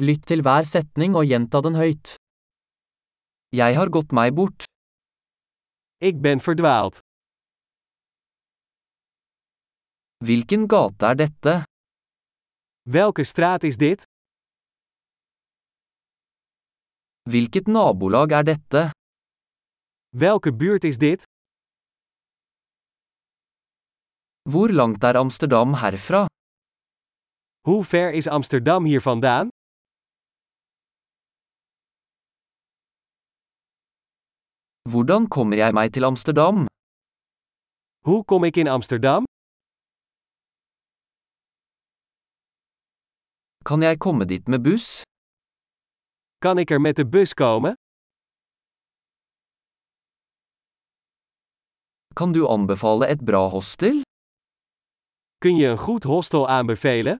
Lytt til hver setning og gjenta den høyt. Jeg har gått meg bort. Ik ben verdwaald. Hvilken gate er dette? Welke straat is dit? Hvilket nabolag er dette? Welke buurt is dit? Hvor langt er Amsterdam herfra? Hoe ver is Amsterdam hier vandaan? Hvordan kommer jeg meg til Amsterdam? Hoe kom ik in Amsterdam? Kan jeg komme dit med buss? Kan ik er met de bus komen? Kan du anbefale et bra hostel? Kun je een goed hostel aanbevelen?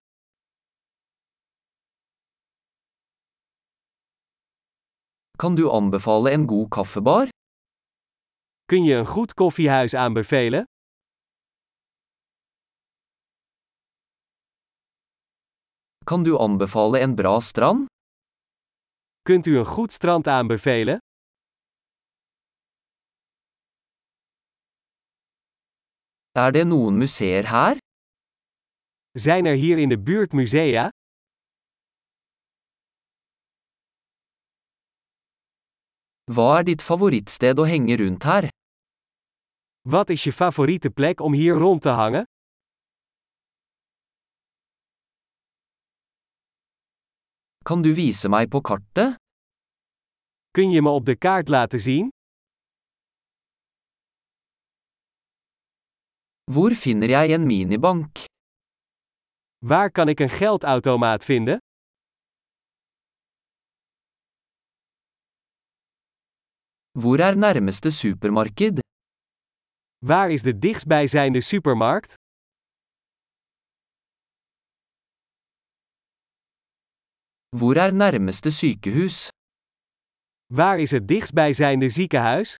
Kan du anbefale en god kaffebar? Kun je een goed koffiehuis aanbevelen? Kan du anbefale en bra strand? Kunt u een goed strand aanbevelen? Er det noen museer her? Zijn er hier in de buurt musea? Hva er ditt favorittsted å henge rundt her? Wat is je favoriete plek om hier rond te hangen? Kan du vise meg på kartet? Kun je me op de kaart laten zien? Hvor finner jeg en minibank? Waar kan ik een geldautomaat vinden? Hvor er nærmeste supermarked? Waar is de dichtstbijzijnde supermarkt? Hvor er nærmeste sykehus? Waar is het dichtstbijzijnde ziekenhuis?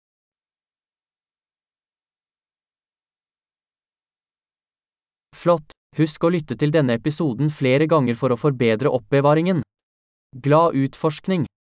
Flott! Husk å lytte til denne episoden flere ganger for å forbedre oppbevaringen. Glad utforskning!